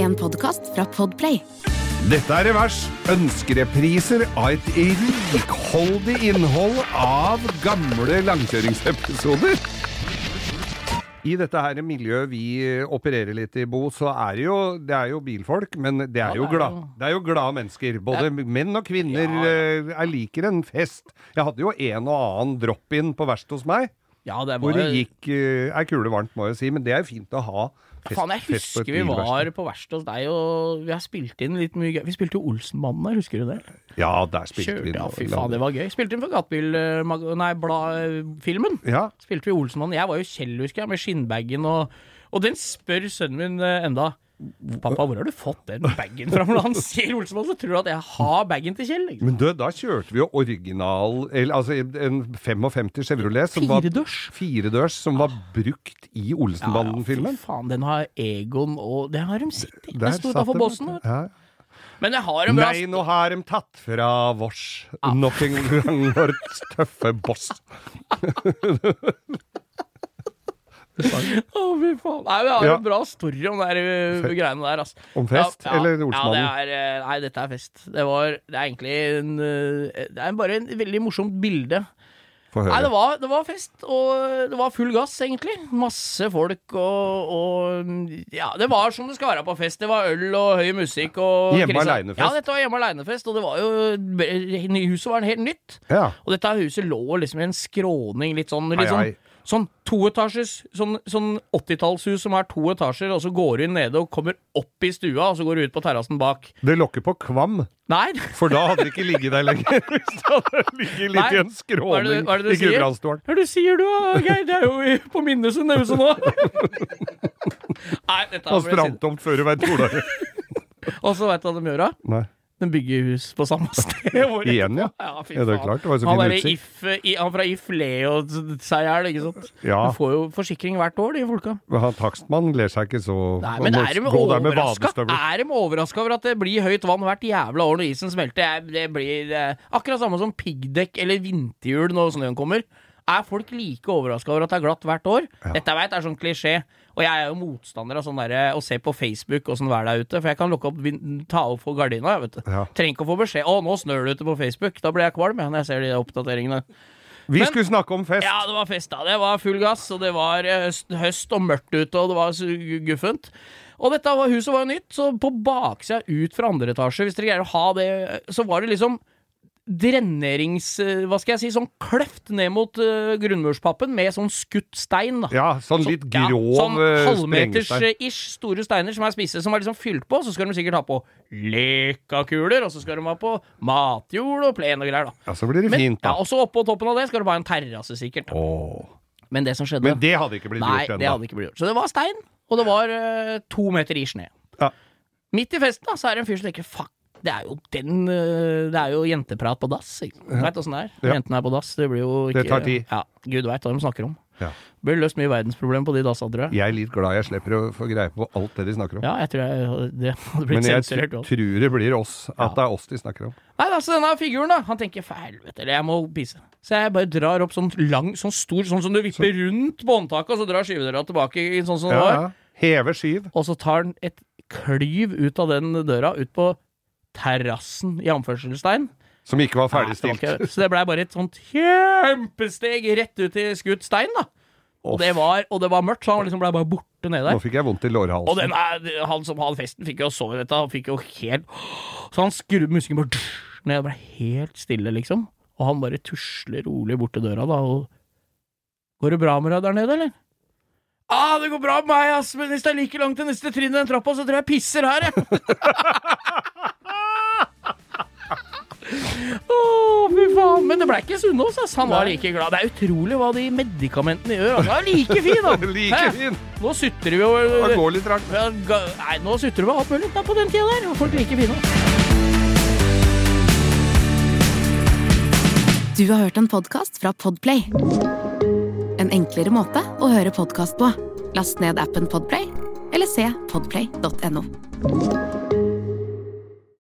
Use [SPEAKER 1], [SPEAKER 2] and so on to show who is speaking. [SPEAKER 1] en podkast fra Podplay.
[SPEAKER 2] Dette er Revers. Ønskerepriser av et rikholdig innhold av gamle langkjøringsepisoder. I dette her miljøet vi opererer litt i, Bo, så er det jo, det er jo bilfolk, men det er jo glad. Det er jo glade mennesker. Både menn og kvinner eh, Jeg liker en fest. Jeg hadde jo en og annen drop-in på verst hos meg,
[SPEAKER 3] Ja, det
[SPEAKER 2] hvor
[SPEAKER 3] var
[SPEAKER 2] det gikk eh, ei kule varmt, må jeg si, men det er jo fint å ha fest,
[SPEAKER 3] Faen, jeg
[SPEAKER 2] fest på et
[SPEAKER 3] husker vi
[SPEAKER 2] bilverksted.
[SPEAKER 3] var på verkstedet hos deg, og vi har spilt inn litt mye gøy. Vi spilte jo Olsenbandene, husker du det?
[SPEAKER 2] Ja, der spilte
[SPEAKER 3] Kjørte,
[SPEAKER 2] vi
[SPEAKER 3] ja,
[SPEAKER 2] noe-
[SPEAKER 3] fy faen, det var gøy. Spilte inn for Gatebil-filmen.
[SPEAKER 2] Ja,
[SPEAKER 3] Spilte vi Olsenmannen. Jeg var jo Kjell, husker jeg, med skinnbagen og Og den spør sønnen min eh, enda. Pappa, hvor har du fått den bagen fra? Når han ser Olsenmannen, så tror han at jeg har bagen til Kjell. Liksom.
[SPEAKER 2] Men du, da kjørte vi jo original eller, Altså en 55 Chevrolet som var
[SPEAKER 3] Firedørs? Ah.
[SPEAKER 2] Firedørs, som var brukt i Olsenbanden-filmen.
[SPEAKER 3] Fy faen, den har Egon og Den har de sett i. Den sto
[SPEAKER 2] satt
[SPEAKER 3] utafor
[SPEAKER 2] det,
[SPEAKER 3] bossen.
[SPEAKER 2] vet du. Ja.
[SPEAKER 3] Men jeg har en bra
[SPEAKER 2] Nei, nå har de tatt fra vårs
[SPEAKER 3] Ah.
[SPEAKER 2] nok en gang vår tøffe boss.
[SPEAKER 3] Å, fy faen. Nei, vi har
[SPEAKER 2] Ja.
[SPEAKER 3] en bra story om de der, eh, greiene der, altså.
[SPEAKER 2] Om fest, eller
[SPEAKER 3] Ja,
[SPEAKER 2] Olsmannen?
[SPEAKER 3] det er, eh, nei, dette er fest. Det var Det er egentlig en eh, Det er bare en veldig morsomt bilde.
[SPEAKER 2] Få
[SPEAKER 3] Nei, det
[SPEAKER 2] høre.
[SPEAKER 3] var, det var fest, og det var full gass, egentlig. Masse folk og, og Ja, det var som det skal være på fest. Det var øl og høy musikk og
[SPEAKER 2] Hjemme
[SPEAKER 3] Kristian-
[SPEAKER 2] alene-fest.
[SPEAKER 3] Ja, dette var hjemme aleine-fest, og det var jo Huset var helt nytt.
[SPEAKER 2] Ja.
[SPEAKER 3] Og dette huset lå liksom i en skråning, litt sånn litt
[SPEAKER 2] Hei, hei.
[SPEAKER 3] sånn, sånn toetasjes Sånn, sånn 80-tallshus som er to etasjer, og så går du inn nede og kommer opp i stua, og så går du ut på terrassen bak.
[SPEAKER 2] Det lokker på kvam,
[SPEAKER 3] Nei!
[SPEAKER 2] for da hadde det ikke ligget der lenger. Hvis det hadde ligget litt
[SPEAKER 3] Nei.
[SPEAKER 2] i en
[SPEAKER 3] Hva er det,
[SPEAKER 2] skråning
[SPEAKER 3] hva er det
[SPEAKER 2] i
[SPEAKER 3] du sier?
[SPEAKER 2] Gudbrandsdålen.
[SPEAKER 3] Hva er det du sier du, da, Geir? Det er jo i- på Minnesund, det huset nå. Nei, dette
[SPEAKER 2] Og
[SPEAKER 3] er
[SPEAKER 2] strandtomt før du veit hvor det er.
[SPEAKER 3] Og så veit du hva de gjør, da?
[SPEAKER 2] Nei.
[SPEAKER 3] De bygger hus på samme sted. hvor-
[SPEAKER 2] Igjen, ja.
[SPEAKER 3] Ja, fy
[SPEAKER 2] Ja, det er
[SPEAKER 3] faen.
[SPEAKER 2] klart. Det var så
[SPEAKER 3] han,
[SPEAKER 2] fin
[SPEAKER 3] derre
[SPEAKER 2] utsikt.
[SPEAKER 3] if, i, han fra If le og seg i hjel, ikke sant.
[SPEAKER 2] Ja.
[SPEAKER 3] Du får jo forsikring hvert år, de folka.
[SPEAKER 2] Men han Takstmannen gleder seg ikke så
[SPEAKER 3] Nei, men
[SPEAKER 2] Han må
[SPEAKER 3] er de
[SPEAKER 2] gå der med
[SPEAKER 3] overraska
[SPEAKER 2] badestøvler.
[SPEAKER 3] Er de overraska over at det blir høyt vann hvert jævla år når isen smelter? Jeg- Det blir eh, akkurat samme som piggdekk eller vinterhjul når snøen kommer. Er folk like overraska over at det er glatt hvert år? Dette jeg vet er sånn klisjé. Og jeg er jo motstander av sånn derre å se på Facebook åssen været er ute, for jeg kan lukke opp vin- ta opp for gardina, jeg, vet du.
[SPEAKER 2] Ja.
[SPEAKER 3] Trenger ikke å få beskjed 'Å, nå snør det ute på Facebook'. Da blir jeg kvalm jeg, når jeg ser de oppdateringene.
[SPEAKER 2] Vi
[SPEAKER 3] Men-
[SPEAKER 2] skulle snakke om fest.
[SPEAKER 3] Ja, det var fest, da. Det var full gass, og det var eh, høst, høst og mørkt ute, og det var så gu- guffent. Og dette var, huset var jo nytt, så på baksida ut fra andre etasje, hvis dere greier å ha det, så var det liksom drenerings... eh, Hva skal jeg si? Sånn kløft ned mot eh, grunnmurspappen med sånn skutt stein, da.
[SPEAKER 2] Ja, sånn litt
[SPEAKER 3] Ja,
[SPEAKER 2] grov
[SPEAKER 3] sånn
[SPEAKER 2] eh, sprengestein.
[SPEAKER 3] halvmeters-ish store steiner som er spisse, som er liksom fylt på. Så skal de sikkert ha på lekakuler, og så skal de ha på matjord og plen og greier, da.
[SPEAKER 2] Ja, så blir det
[SPEAKER 3] Men,
[SPEAKER 2] fint,
[SPEAKER 3] ja,
[SPEAKER 2] da.
[SPEAKER 3] og så oppå toppen av det skal du ha en terrasse, sikkert. da.
[SPEAKER 2] Åh.
[SPEAKER 3] Men det som skjedde
[SPEAKER 2] Men det hadde ikke blitt
[SPEAKER 3] Nei,
[SPEAKER 2] gjort
[SPEAKER 3] det hadde
[SPEAKER 2] ennå.
[SPEAKER 3] ikke blitt gjort. Så det var stein, og det var eh, to meter i snø.
[SPEAKER 2] Ja.
[SPEAKER 3] Midt i festen da, så er det en fyr som tenker fuck, det er jo den eh, Det er jo jenteprat på dass. ikke sant? Vet åssen det er.
[SPEAKER 2] Ja.
[SPEAKER 3] Jentene er på dass, det blir jo ikke
[SPEAKER 2] Det tar tid.
[SPEAKER 3] Ja, Gud veit hva de snakker om.
[SPEAKER 2] Ja.
[SPEAKER 3] Blir løst mye verdensproblemer på de dassa, tror jeg.
[SPEAKER 2] Jeg er litt glad jeg slipper å få greie på alt det de snakker om.
[SPEAKER 3] Ja, jeg tror jeg, det hadde blitt
[SPEAKER 2] Men jeg
[SPEAKER 3] sensurert. også.
[SPEAKER 2] tror det blir oss. At det er oss de snakker om.
[SPEAKER 3] Nei, altså denne figuren da Han tenker, for helvete, eller jeg må pisse Så jeg bare drar opp sånn lang, sånn stor Sånn som du vipper rundt båndtaket Og så drar skyvedøra tilbake i sånn som det
[SPEAKER 2] Ja,
[SPEAKER 3] var
[SPEAKER 2] ja. Heve skyv.
[SPEAKER 3] Og så tar han et klyv ut av den døra Ut på terrassen i anførselstegn
[SPEAKER 2] Som ikke var
[SPEAKER 3] Nei, det var
[SPEAKER 2] ferdigstilt.
[SPEAKER 3] ikke- Så det ble bare et sånt kjempesteg Rett ut i skutt stein da og det, var, og det var mørkt, så han liksom ble bare borte nede der
[SPEAKER 2] Nå fikk jeg vondt i
[SPEAKER 3] og
[SPEAKER 2] lårhalsen.
[SPEAKER 3] den er, han som hadde festen, fikk jo sove dette. Han fikk jo helt Så han skrur musikken bare ned, og ble helt stille, liksom. Og han bare tusler rolig bort til døra, da, og Går det bra med deg der nede, eller? Ah, det går bra med meg, ass, men hvis det er like langt til neste trinn i den trappa, så tror jeg jeg pisser her, jeg. Å, fy faen. Men det ble ikke Sunnaas, ass. Han var like glad. Det er utrolig hva de medikamentene gjør. Altså. Han er like fin, han.
[SPEAKER 2] Like fin!
[SPEAKER 3] Nå sutrer vi jo eh,
[SPEAKER 2] Det går litt rart.
[SPEAKER 3] ja, ga- Nei, nå sutrer du med alt mulig da, på den tida der. og Folk liker fine.
[SPEAKER 1] Du har hørt en podkast fra Podplay. En enklere måte å høre podkast på. Last ned appen Podplay, eller se podplay.no.